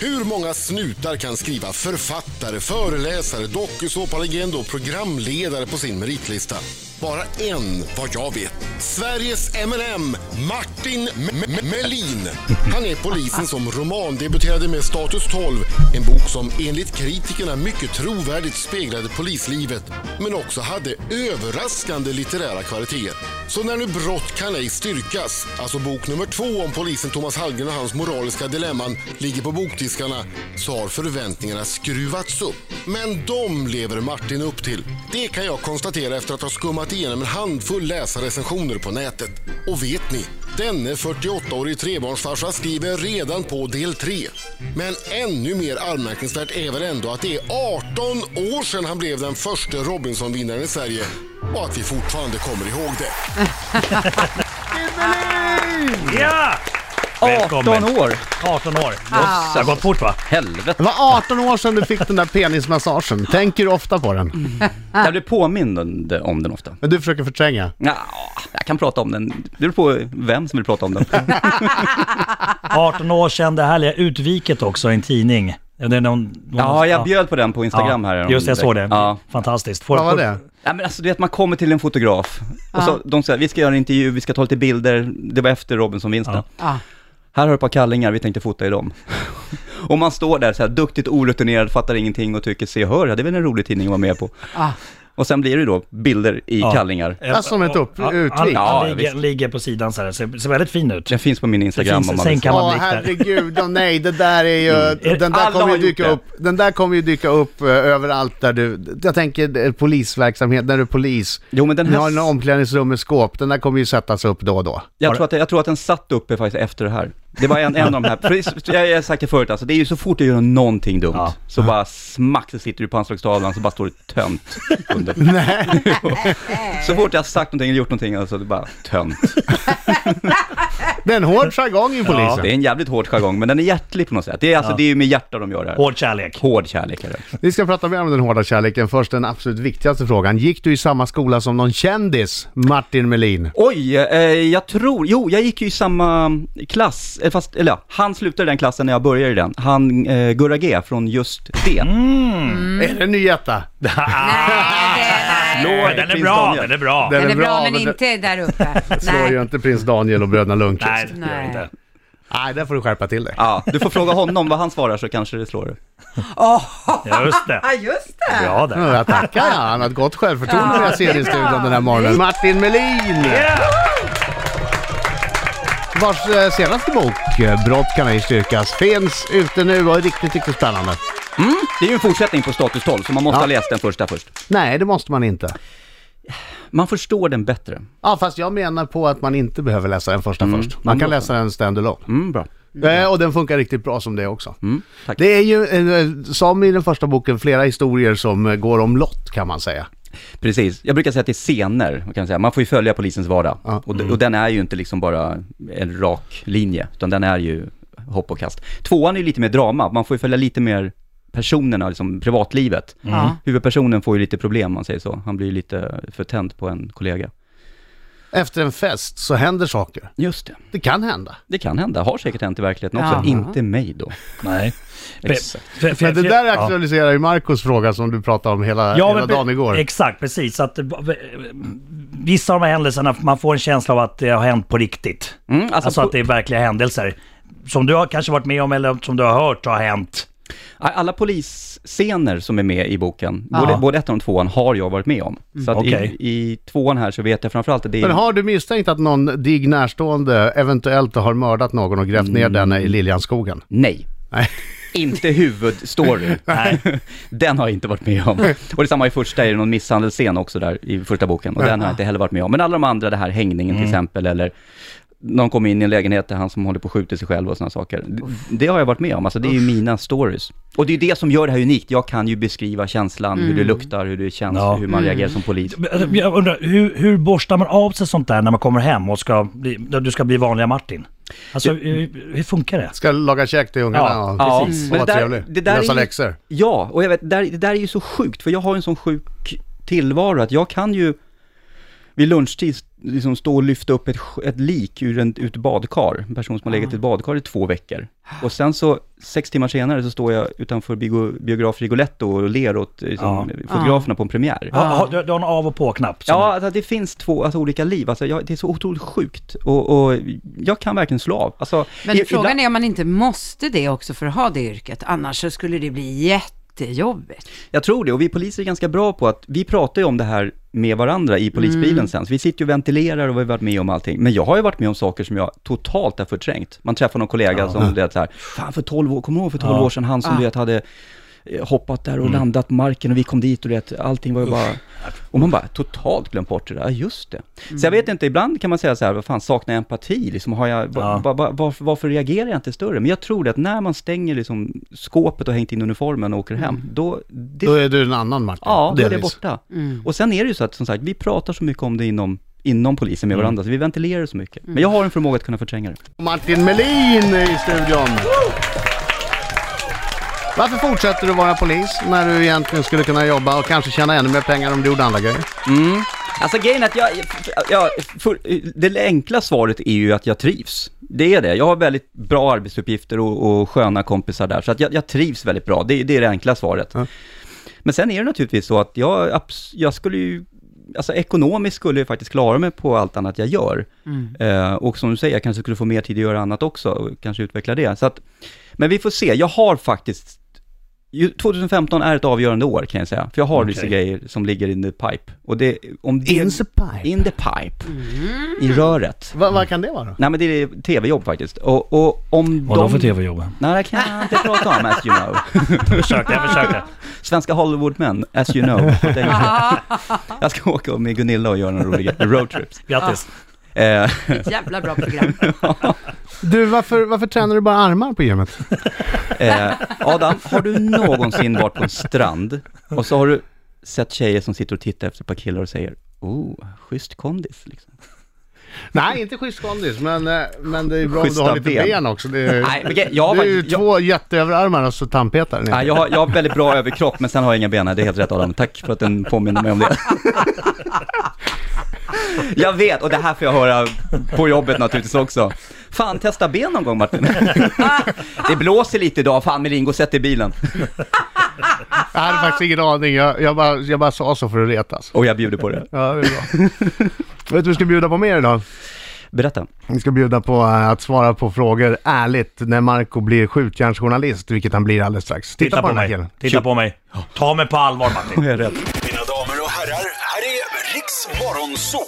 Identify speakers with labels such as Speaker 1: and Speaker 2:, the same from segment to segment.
Speaker 1: Hur många snutar kan skriva författare, föreläsare, dokusåpalegend och programledare på sin meritlista? Bara en, vad jag vet. Sveriges M&M Martin M- M- Melin. Han är polisen som romandebuterade med Status 12, en bok som enligt kritikerna mycket trovärdigt speglade polislivet, men också hade överraskande litterära kvaliteter. Så när nu brott kan ej styrkas, alltså bok nummer två om polisen Thomas Hallgren och hans moraliska dilemman ligger på bokdiskarna, så har förväntningarna skruvats upp. Men de lever Martin upp till. Det kan jag konstatera efter att ha skummat igenom en handfull läsarrecensioner på nätet. Och vet ni? Denne 48-årig trebarnsfarsa skriver redan på del 3. Men ännu mer anmärkningsvärt är väl ändå att det är 18 år sedan han blev den första Robinson-vinnaren i Sverige och att vi fortfarande kommer ihåg det.
Speaker 2: Ja!
Speaker 3: 18 år!
Speaker 2: 18 år. Det har gått fort va?
Speaker 3: Helvete!
Speaker 4: Det var 18 år sedan du fick den där penismassagen. Tänker du ofta på den?
Speaker 2: Ah.
Speaker 3: Jag blir påmind om den ofta.
Speaker 4: Men du försöker förtränga.
Speaker 3: Ja, jag kan prata om den. Det beror på vem som vill prata om den.
Speaker 2: 18 år sedan, det härliga Utviket också, en tidning. Ja, Det är någon, någon,
Speaker 3: Ja, jag bjöd på den på Instagram här.
Speaker 2: Just det, jag såg det.
Speaker 3: Ja.
Speaker 2: Fantastiskt. Får-
Speaker 4: Vad var det?
Speaker 3: Ja, men alltså, du vet, man kommer till en fotograf och
Speaker 2: Ah.
Speaker 3: så, de säger vi ska göra en intervju, vi ska ta lite bilder. Det var efter Robinson-vinsten.
Speaker 2: Ja.
Speaker 5: Ja.
Speaker 3: Här har du ett par kallingar, vi tänkte fota i dem. och man står där så här duktigt orutinerad, fattar ingenting och tycker se och hör, ja, det är väl en rolig tidning att vara med på.
Speaker 5: Ah.
Speaker 3: Och sen blir det då bilder i
Speaker 2: Ja.
Speaker 3: kallingar.
Speaker 4: Ja, som ett upp,
Speaker 2: Ja,
Speaker 4: utvik.
Speaker 2: Han,
Speaker 3: Ja,
Speaker 2: han ligger,
Speaker 3: visst.
Speaker 2: ligger på sidan så här, ser, ser väldigt fin ut.
Speaker 3: Den finns på min
Speaker 2: Det
Speaker 3: Instagram
Speaker 2: finns
Speaker 3: om
Speaker 2: en
Speaker 3: man vill se.
Speaker 4: Åh
Speaker 2: sänkamanblick där.
Speaker 4: herregud, åh nej, det där är ju...
Speaker 2: Är-
Speaker 4: Den, där
Speaker 3: alla
Speaker 4: kommer
Speaker 3: har
Speaker 4: ju
Speaker 3: gjort
Speaker 4: dyka
Speaker 3: det.
Speaker 4: upp, den där kommer ju dyka upp eh, överallt där du... Jag tänker eh, polisverksamhet, när du är polis.
Speaker 3: Jo, men den
Speaker 4: Ni har
Speaker 3: här...
Speaker 4: en omklädningsrum med skåp, den där kommer ju sättas upp då och då.
Speaker 3: Jag tror, att, jag tror att den satt uppe faktiskt efter det här. Det var en, en av de här, precis- jag jag har sagt det förut alltså, det är ju så fort jag gör någonting dumt,
Speaker 2: Ja.
Speaker 3: så bara smack så sitter du på anslagstavlan så bara står det tönt under. så fort jag har sagt någonting eller gjort någonting alltså, det är bara tönt.
Speaker 4: Det är en hård jargong i polisen.
Speaker 3: Det är en jävligt hård jargong, men den är hjärtlig på något sätt. Det är, alltså, det är ju med hjärta de gör det här.
Speaker 2: Hård kärlek.
Speaker 3: Hård kärlek är det.
Speaker 4: Vi ska prata mer om den hårda kärleken. Först den absolut viktigaste frågan. Gick du i samma skola som någon kändis, Martin Melin?
Speaker 3: Oj, eh, jag tror, jo, jag gick ju i samma klass, eh, fast, eller ja, han slutade den klassen när jag började i den. Han, eh, Gurra G från just det. Mm.
Speaker 4: Är det en nyheta?
Speaker 5: Nej,
Speaker 3: Lord,
Speaker 2: Men den är
Speaker 3: prins
Speaker 2: bra,
Speaker 3: Daniel.
Speaker 2: den är bra.
Speaker 4: Den
Speaker 5: den är bra men
Speaker 4: det
Speaker 5: inte där uppe.
Speaker 4: slår ju
Speaker 5: Nej.
Speaker 4: inte prins Daniel och bröderna Lundqvist.
Speaker 2: Nej,
Speaker 4: Nej.
Speaker 2: det gör jag inte.
Speaker 4: Nej, där får du skärpa till dig.
Speaker 3: Ja, du får fråga honom vad han svarar så kanske det slår dig.
Speaker 2: Ja, just det.
Speaker 5: Ja just det.
Speaker 2: Bra där.
Speaker 4: Ja, Jag tackar ja. han har ett gott självförtroende när jag ser dig i studion den här morgonen. Martin Melin! Vars eh, senaste bok, eh, Brott kan ej styrkas, finns ute nu och är riktigt, riktigt spännande.
Speaker 3: Det är ju en fortsättning på Status 12, så man måste
Speaker 4: Ja.
Speaker 3: ha läst den första först.
Speaker 4: Nej, det måste man inte.
Speaker 3: Man förstår den bättre.
Speaker 4: Ja, fast jag menar på att man inte behöver läsa den första först. Man kan läsa den standalone.
Speaker 3: Mm, bra. Mm,
Speaker 4: Eh, och den funkar riktigt bra som det också.
Speaker 3: tack.
Speaker 4: Det är ju, eh, som i den första boken, flera historier som eh, går om lott kan man säga.
Speaker 3: Precis. Jag brukar säga att det är scener, man kan säga. Man får ju följa polisens vardag.
Speaker 4: Ja. Mm.
Speaker 3: Och, d- och den är ju inte liksom bara en rak linje, utan den är ju hopp och kast. Tvåan är ju lite mer drama, man får ju följa lite mer personerna, liksom privatlivet.
Speaker 5: Ja.
Speaker 3: Huvudpersonen får ju lite problem, om man säger så. Han blir ju lite för tänd på en kollega.
Speaker 4: Efter en fest så händer saker.
Speaker 3: Just det.
Speaker 4: Det kan hända.
Speaker 3: Det kan hända. Har säkert hänt i verkligheten också.
Speaker 5: Jaha.
Speaker 3: Inte mig då.
Speaker 2: Nej.
Speaker 3: Exakt.
Speaker 2: Fe- fe-
Speaker 4: Men det
Speaker 2: fe-
Speaker 4: där
Speaker 2: ja.
Speaker 4: aktualiserar ju Marcos fråga som du pratade om hela, hela
Speaker 2: men pre-
Speaker 4: dagen igår.
Speaker 2: Exakt, precis. Så att, eh, vissa av de här händelserna, man får en känsla av att det har hänt på riktigt.
Speaker 3: Mm, alltså
Speaker 2: alltså
Speaker 3: på-
Speaker 2: att det är verkliga händelser. Som du har kanske varit med om eller som du har hört har hänt.
Speaker 3: Alla polisscener som är med i boken,
Speaker 5: Ja.
Speaker 3: både, både ettan och tvåan, har jag varit med om. Så att
Speaker 2: Okej.
Speaker 3: i, i tvåan här så vet jag framförallt att det är...
Speaker 4: Men har du misstänkt att någon dig närstående eventuellt har mördat någon och grävt
Speaker 3: Mm.
Speaker 4: ner denne i Liljanskogen?
Speaker 3: Nej.
Speaker 4: Nej.
Speaker 3: Inte huvudstory. den har jag inte varit med om. Och detsamma i första, är det någon misshandelsscen också där i första boken. Och den har jag inte heller varit med om. Men alla de andra, det här hängningen till exempel, eller någon kommer in i en lägenhet där han som håller på att skjuta sig själv och sådana saker. Det, det har jag varit med om, alltså det är ju mina stories. Och det är ju det som gör det här unikt. Jag kan ju beskriva känslan, hur det luktar, hur det känns,
Speaker 2: Ja.
Speaker 3: hur man reagerar som polis.
Speaker 2: Men eh, Jag undrar, hur, hur borstar man av sig sånt där när man kommer hem och ska bli, när du ska bli vanliga Martin? Alltså, hur, hur funkar det?
Speaker 4: Ska laga käk till ungarna
Speaker 2: Ja,
Speaker 4: och,
Speaker 3: precis.
Speaker 4: och
Speaker 3: Mm. Men
Speaker 4: vara
Speaker 3: det där-
Speaker 4: trevlig.
Speaker 3: det där är
Speaker 4: Lösa
Speaker 3: ju-
Speaker 4: läxor.
Speaker 3: Ja, och jag vet, där, det där är ju så sjukt, för jag har en sån sjuk tillvaro att jag kan ju vid lunchtid liksom stå och lyfta upp ett, sk- ett lik ur en, ut badkar, en person som har legat i ett badkar i två veckor. Och sen så sex timmar senare så står jag utanför bio, biograf Rigoletto och ler åt eh, liksom,
Speaker 2: Ja.
Speaker 3: fotograferna på en premiär.
Speaker 2: Ha, ha, du, du har en av och på-knapp? som-
Speaker 3: Ja, alltså, det finns två alltså, olika liv. Alltså, jag, det är så otroligt sjukt och, och jag kan verkligen slå av. Alltså,
Speaker 5: Men
Speaker 3: i-
Speaker 5: frågan
Speaker 3: ibland-
Speaker 5: är om man inte måste det också för att ha det yrket. Annars så skulle det bli jättejobbigt.
Speaker 3: Jag tror det, och vi poliser är ganska bra på att, vi pratar ju om det här med varandra i polisbilen sen, så vi sitter ju och ventilerar och vi har varit med om allting. Men jag har ju varit med om saker som jag totalt har förträngt. Man träffar någon kollega som, du vet så här, fan för 12 år, kommer du ihåg för 12 år sedan han som du vet hade eh, hoppat där och landat på marken och vi kom dit och du vet, allting var ju bara... Och man bara totalt glömt bort det där, ja just det. Så jag vet inte, ibland kan man säga så här, vad fan saknar jag empati? Liksom, har jag, va,
Speaker 2: Ja.
Speaker 3: va, va, varför, varför reagerar jag inte större? Men jag tror det att när man stänger liksom skåpet och hängt in uniformen och åker hem, då... Det
Speaker 4: Då är du en annan Martin.
Speaker 3: Ja, då är det
Speaker 4: delvis.
Speaker 3: borta. Mm. Och sen är det ju så att, som sagt, vi pratar så mycket om det inom, inom polisen med varandra, så vi ventilerar så mycket. Men jag har en förmåga att kunna förtränga det.
Speaker 4: Martin Melin i studion. Varför fortsätter du vara polis när du egentligen skulle kunna jobba och kanske tjäna ännu mer pengar om du gjorde andra grejer?
Speaker 3: Alltså grejen är att jag, jag för, det enkla svaret är ju att jag trivs. Det är det. Jag har väldigt bra arbetsuppgifter och, och sköna kompisar där, så att jag, jag trivs väldigt bra. Det, det är det enkla svaret. Men sen är det naturligtvis så att jag, abs- jag skulle ju, alltså ekonomiskt skulle jag faktiskt klara mig på allt annat jag gör. Eh, och som du säger, jag kanske skulle få mer tid att göra annat också och kanske utveckla det. Så att, men vi får se, jag har faktiskt, ju- 2015 är ett avgörande år kan jag säga, för jag har vissa grejer som ligger in the pipe. Och det, om det,
Speaker 4: In the pipe.
Speaker 3: In the pipe. Mm. I röret.
Speaker 4: Va, vad kan det vara?
Speaker 3: Nej men det är tv-jobb faktiskt. Och, och om
Speaker 2: Och de får
Speaker 3: de...
Speaker 2: tv-jobb.
Speaker 3: Nej, det kan jag inte prata om, as you know.
Speaker 2: Försökte, jag försökte.
Speaker 3: Svenska Hollywoodmän, as you know. Det är ju- Jag ska åka med Gunilla och göra några roliga roadtrips.
Speaker 2: Grattis.
Speaker 3: Eh,
Speaker 5: Ett jävla bra program.
Speaker 4: Du, varför, varför tränar du bara armar på gymmet?
Speaker 3: eh, Adam, har du någonsin varit på en strand och så har du sett tjejer som sitter och tittar efter ett par killar och säger Oh, schysst kondis liksom.
Speaker 4: Nej, inte schysst kondis, men, eh, men det är bra om du
Speaker 3: Schyssta
Speaker 4: har lite ben,
Speaker 3: ben.
Speaker 4: också. Det är,
Speaker 3: Nej, men jag har
Speaker 4: det är ju
Speaker 3: faktiskt- jag-
Speaker 4: två jätteöverarmar och så tandpetare ner.
Speaker 3: Nej, jag, har, jag har väldigt bra överkropp, men sen har jag inga ben. Nej, Det är helt rätt Adam. Tack för att den påminner mig om det. Jag vet, och det här får jag höra på jobbet naturligtvis också. Fan, testa ben någon gång Martin. Det blåser lite idag. Fan Melin, gå och sätt dig i bilen.
Speaker 4: Jag hade faktiskt ingen aning, jag, jag, bara, jag bara sa så för att alltså. retas.
Speaker 3: Och jag bjuder på det.
Speaker 4: Ja, det är bra. Vet du vad vi ska bjuda på mer idag?
Speaker 3: Berätta.
Speaker 4: Vi ska bjuda på eh, att svara på frågor ärligt när Marco blir skjutjärnsjournalist, vilket han blir alldeles strax. Titta, på, den här killen.
Speaker 2: Titta på mig. Ta mig på allvar Martin.
Speaker 3: Jag är rätt.
Speaker 6: Mina damer och herrar, här är Riks Morgonzoo!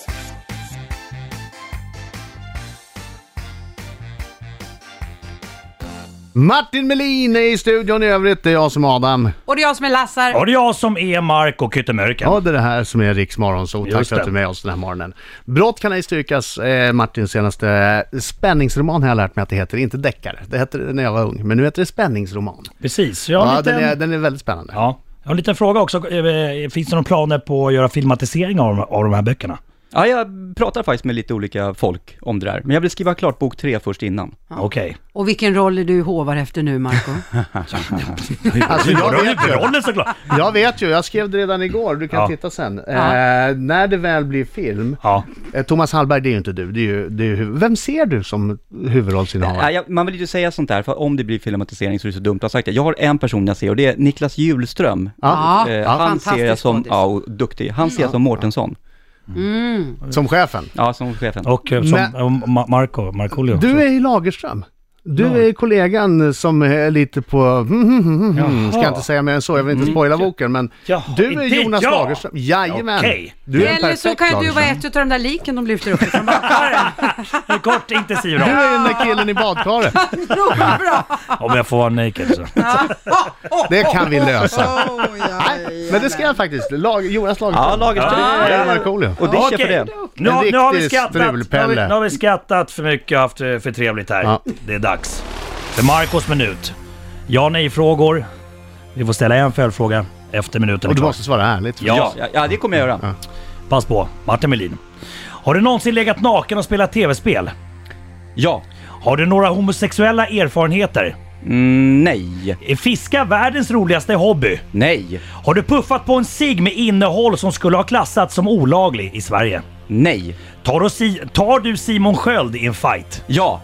Speaker 4: Martin Melin är i studion i övrigt, det är jag som är Adam.
Speaker 5: Och det är jag som är Lassar.
Speaker 2: Och det är jag som är Marco Kyttemörken.
Speaker 4: Ja, det är det här som är Riks Morgonzoo. Tack
Speaker 2: Just
Speaker 4: för att
Speaker 2: det.
Speaker 4: du är med oss den här morgonen. Brott kan ej styrkas, eh, Martins senaste spänningsroman har jag lärt mig att det heter. Inte deckare, det hette det när jag var ung. Men nu heter det spänningsroman.
Speaker 2: Precis. Jag har en
Speaker 4: Ja,
Speaker 2: liten-
Speaker 4: den är, den är väldigt spännande.
Speaker 2: Ja. Jag har en liten fråga också. Eh, Finns det några planer på att göra filmatisering av, de- av de här böckerna?
Speaker 3: Ja, jag pratar faktiskt med lite olika folk om det där. Men jag vill skriva klart bok tre först innan.
Speaker 2: Okej.
Speaker 5: Och vilken roll är du hovar efter nu, Marco?
Speaker 4: Alltså,
Speaker 2: Då
Speaker 4: jag,
Speaker 2: har du
Speaker 4: vet ju,
Speaker 2: rollen såklart.
Speaker 4: jag vet ju, jag skrev det redan igår, du kan
Speaker 2: Ja.
Speaker 4: titta sen.
Speaker 5: Ja.
Speaker 4: Eh, när det väl blir film,
Speaker 2: Ja.
Speaker 4: eh, Thomas Hallberg det är ju inte du, det är ju, det är ju, hu- vem ser du som huvudrollsinnehavare?
Speaker 3: Nej, Äh, jag, man vill ju inte säga sånt där, för om det blir filmatisering så är det så dumt att ha sagt det. Jag har en person jag ser och det är Niklas Julström.
Speaker 5: Ja,
Speaker 3: Eh, han
Speaker 5: fantastisk
Speaker 3: ser jag som,
Speaker 5: skådis.
Speaker 3: ja, och duktig. Han ser jag som Mårtensson.
Speaker 4: Som chefen?
Speaker 3: Ja, som chefen.
Speaker 2: Och eh, som
Speaker 4: Men-
Speaker 2: eh, Ma- Marco, Markoolio.
Speaker 4: Du är i Lagerström. Du är kollegan som är lite på... Mm, mm, mm, mm, ska jag inte säga mer än så, jag vill inte spoila boken, men
Speaker 2: Mm. Jaha,
Speaker 4: du är
Speaker 2: inte
Speaker 4: Jonas
Speaker 2: jag.
Speaker 4: Lagerström. Jajamän!
Speaker 2: Okej.
Speaker 4: Du är en
Speaker 5: Eller så
Speaker 4: perfekt
Speaker 5: kan ju du vara
Speaker 4: Lagerström.
Speaker 5: ett av de där liken de lyfter upp från bakgrunden.
Speaker 2: En kort intensiv
Speaker 4: Du
Speaker 2: roll.
Speaker 4: är den där killen i badkaret.
Speaker 5: Bra!
Speaker 2: Om jag får vara naked så.
Speaker 4: Det kan vi lösa.
Speaker 5: Oh, ja, ja.
Speaker 4: Men det ska jag faktiskt. Lag, Jonas
Speaker 3: Ja,
Speaker 4: Lagerström.
Speaker 3: Lagerström.
Speaker 4: Det är
Speaker 3: Ja.
Speaker 4: Markoolio.
Speaker 3: Och det
Speaker 2: Okej.
Speaker 3: för det.
Speaker 2: Nu,
Speaker 4: En
Speaker 2: har- nu har vi
Speaker 4: riktig
Speaker 2: skrattat. Nu har vi,
Speaker 4: strulpelle.
Speaker 2: nu har vi skrattat för mycket och haft eh, för trevligt här.
Speaker 4: Ja.
Speaker 2: Det är dags. För Marcos minut. Ja nej-frågor. Vi får ställa en följdfråga efter minuten. är
Speaker 4: Och du
Speaker 2: klar.
Speaker 4: måste svara ärligt.
Speaker 3: Ja, ja, ja, det kommer jag göra.
Speaker 2: Pass på. Martin Melin. Har du någonsin legat naken och spelat tv-spel?
Speaker 3: Ja.
Speaker 2: Har du några homosexuella erfarenheter?
Speaker 3: Mm, nej.
Speaker 2: Är fiska världens roligaste hobby?
Speaker 3: Nej.
Speaker 2: Har du puffat på en cigg med innehåll som skulle ha klassats som olaglig i Sverige?
Speaker 3: Nej.
Speaker 2: Tar du, si- tar du Simon Sköld i en fight?
Speaker 3: Ja.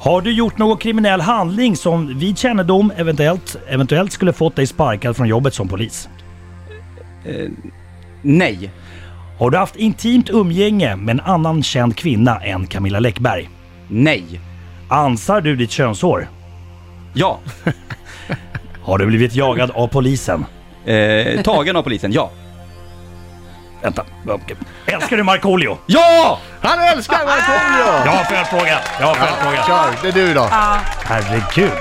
Speaker 2: Har du gjort någon kriminell handling som vid kännedom eventuellt, eventuellt skulle fått dig sparkad från jobbet som polis?
Speaker 3: Nej.
Speaker 2: Har du haft intimt umgänge med en annan känd kvinna än Camilla Läckberg?
Speaker 3: Nej.
Speaker 2: Ansar du ditt könshår?
Speaker 3: Ja.
Speaker 2: Har du blivit jagad av polisen?
Speaker 3: Eh, tagen av polisen, ja.
Speaker 2: Vänta. okej. Älskar du Markoolio?
Speaker 3: Ja!
Speaker 4: Han älskar Markoolio!
Speaker 2: Jag har fel fråga. Jag har fel fråga.
Speaker 4: Kör, det är du då.
Speaker 2: Herregud.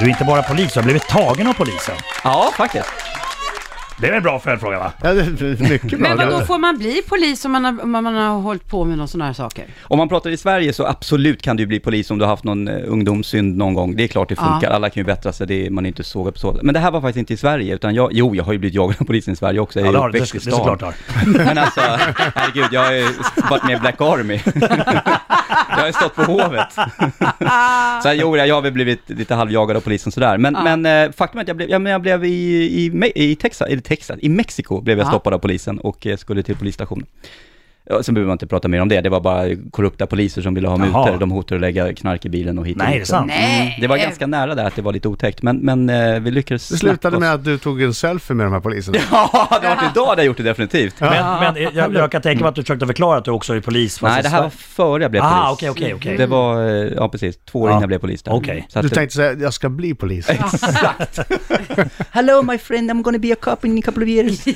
Speaker 2: Du är inte bara polis, du har blivit tagen av polisen.
Speaker 3: Ja, faktiskt.
Speaker 2: Det är väl en bra följdfråga va?
Speaker 4: Ja, det är mycket bra.
Speaker 5: Men vadå, får man bli polis om man har, om man har hållit på med någon sån här saker?
Speaker 3: Om man pratar i Sverige så absolut kan du bli polis om du har haft någon eh, ungdomssynd någon gång. Det är klart det funkar,
Speaker 5: Ja.
Speaker 3: alla kan ju bättra sig, det är, man är inte sågad på sådant. Men det här var faktiskt inte i Sverige, utan jag, jo, jag har ju blivit jagad av polisen i Sverige också. Jag
Speaker 2: Ja,
Speaker 3: är
Speaker 2: det har du. Det
Speaker 3: uppväxt i
Speaker 2: är
Speaker 3: stan.
Speaker 2: såklart du har.
Speaker 3: Men alltså, herregud, jag har ju varit med i Black Army. jag har ju stått på Hovet. så jag, jo, jag har väl blivit lite halvjagad av polisen sådär. Men, men eh, faktum är att jag blev, ja, men jag blev i, i, Me- i, Texas, i Texas, i Mexiko blev jag
Speaker 5: Ja.
Speaker 3: stoppad av polisen och eh, skulle till polisstationen. Ja, Sen behöver man inte prata mer om det, det var bara korrupta poliser som ville ha
Speaker 2: Jaha.
Speaker 3: mutor, de hotade att lägga knark i bilen och hit och
Speaker 2: Nej,
Speaker 3: dit. Mm.
Speaker 2: det är sant.
Speaker 5: Nej.
Speaker 3: Det var ganska nära där att det var lite otäckt, men, men eh, vi lyckades
Speaker 4: Det slutade
Speaker 3: snabbt
Speaker 4: med att du tog en selfie med de här poliserna.
Speaker 3: Ja, det var inte idag det jag gjort det definitivt.
Speaker 2: Men, men eh, jag, jag kan tänka mig att du försökte förklara att du också är polis. fast
Speaker 3: Nej,
Speaker 2: i
Speaker 3: det här var
Speaker 2: Sverige.
Speaker 3: före jag blev
Speaker 2: Ah,
Speaker 3: polis.
Speaker 2: okej, okej, okej.
Speaker 3: Det var, eh, ja precis, två år
Speaker 2: Ja.
Speaker 3: innan jag blev polis där.
Speaker 2: Okej.
Speaker 3: Så att-
Speaker 4: Du tänkte säga, jag ska bli polis.
Speaker 3: Exakt. Hello my friend, I'm gonna be a cop in a couple of years.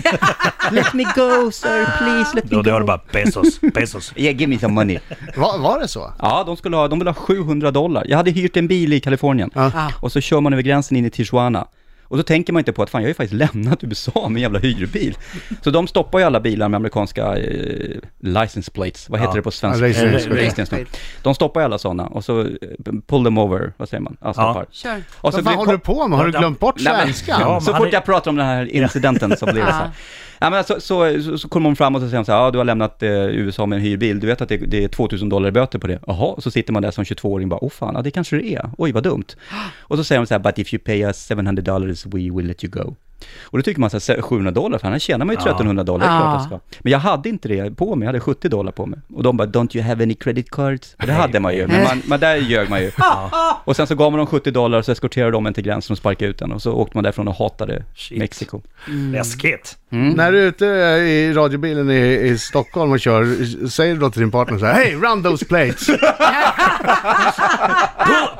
Speaker 3: Let me go sir, please let
Speaker 2: Då det hörde bara pesos, pesos.
Speaker 3: Yeah, give me some money.
Speaker 4: Va, var det så?
Speaker 3: Ja, de skulle ha, de ville ha 700 dollar. Jag hade hyrt en bil i Kalifornien.
Speaker 5: Ja.
Speaker 3: Och så kör man över gränsen in i Tijuana. Och då tänker man inte på att fan, jag har ju faktiskt lämnat USA med en jävla hyrbil. Så de stoppar ju alla bilar med amerikanska eh, license plates. Vad heter
Speaker 2: Ja.
Speaker 3: det på svenska?
Speaker 4: Ja, license
Speaker 2: plate.
Speaker 3: Registreringsnummer. De stoppar ju alla sådana och så eh, pull them over, vad säger man? Ja, stoppar.
Speaker 5: Kör.
Speaker 3: Och
Speaker 4: Vad fan håller du på med? Har du glömt bort
Speaker 3: Nej, men-
Speaker 4: svenskan?
Speaker 2: Ja, men
Speaker 3: så
Speaker 2: han
Speaker 3: fort
Speaker 2: är-
Speaker 3: jag pratar om den här incidenten så blir det så här. Ja, men så, så, så, så kommer hon fram och så säger hon så här, ja du har lämnat eh, USA med en hyrbil, du vet att det, det är 2000 dollar i böter på det. Jaha, så sitter man där som 22-åring och bara, åh fan, ja, det kanske det är, oj vad dumt. Och så säger hon så här, but if you pay us 700 dollars we will let you go. Och då tycker man så här, 700 dollar, för annars tjänar man ju 1300 dollar, det är klart jag ska. Men jag hade inte det på mig, jag hade 70 dollar på mig. Och de bara, don't you have any credit cards? Och det hade man ju, men man, man, där ljög man ju. Och sen så gav man dem 70 dollar och så eskorterade de en till gränsen och sparkade ut den. Och så åkte man därifrån och hatade
Speaker 2: Shit.
Speaker 3: Mexiko.
Speaker 2: Mm. Läskigt.
Speaker 3: Mm.
Speaker 4: När du är ute i radiobilen i, i Stockholm och kör, säger du då till din partner så här, Hey, run those plates!
Speaker 2: Pull,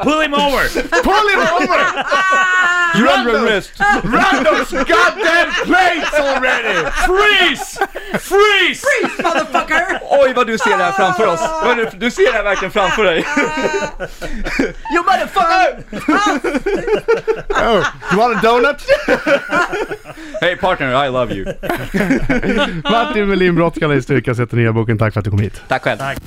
Speaker 2: pull him over!
Speaker 4: Pull it over!
Speaker 3: Ah!
Speaker 4: Run those, run those goddamn plates already!
Speaker 2: Freeze! Freeze!
Speaker 5: Motherfucker!
Speaker 3: Oj, vad du ser det här framför oss! Vad Du, du ser det här verkligen framför dig!
Speaker 5: You motherfucker!
Speaker 4: Oh, you want a donut?
Speaker 3: Hey partner, I love you!
Speaker 4: Martin Melin, Brott kan ej styrkas, heter nya boken. Tack för att du kom hit.
Speaker 3: Tack själv!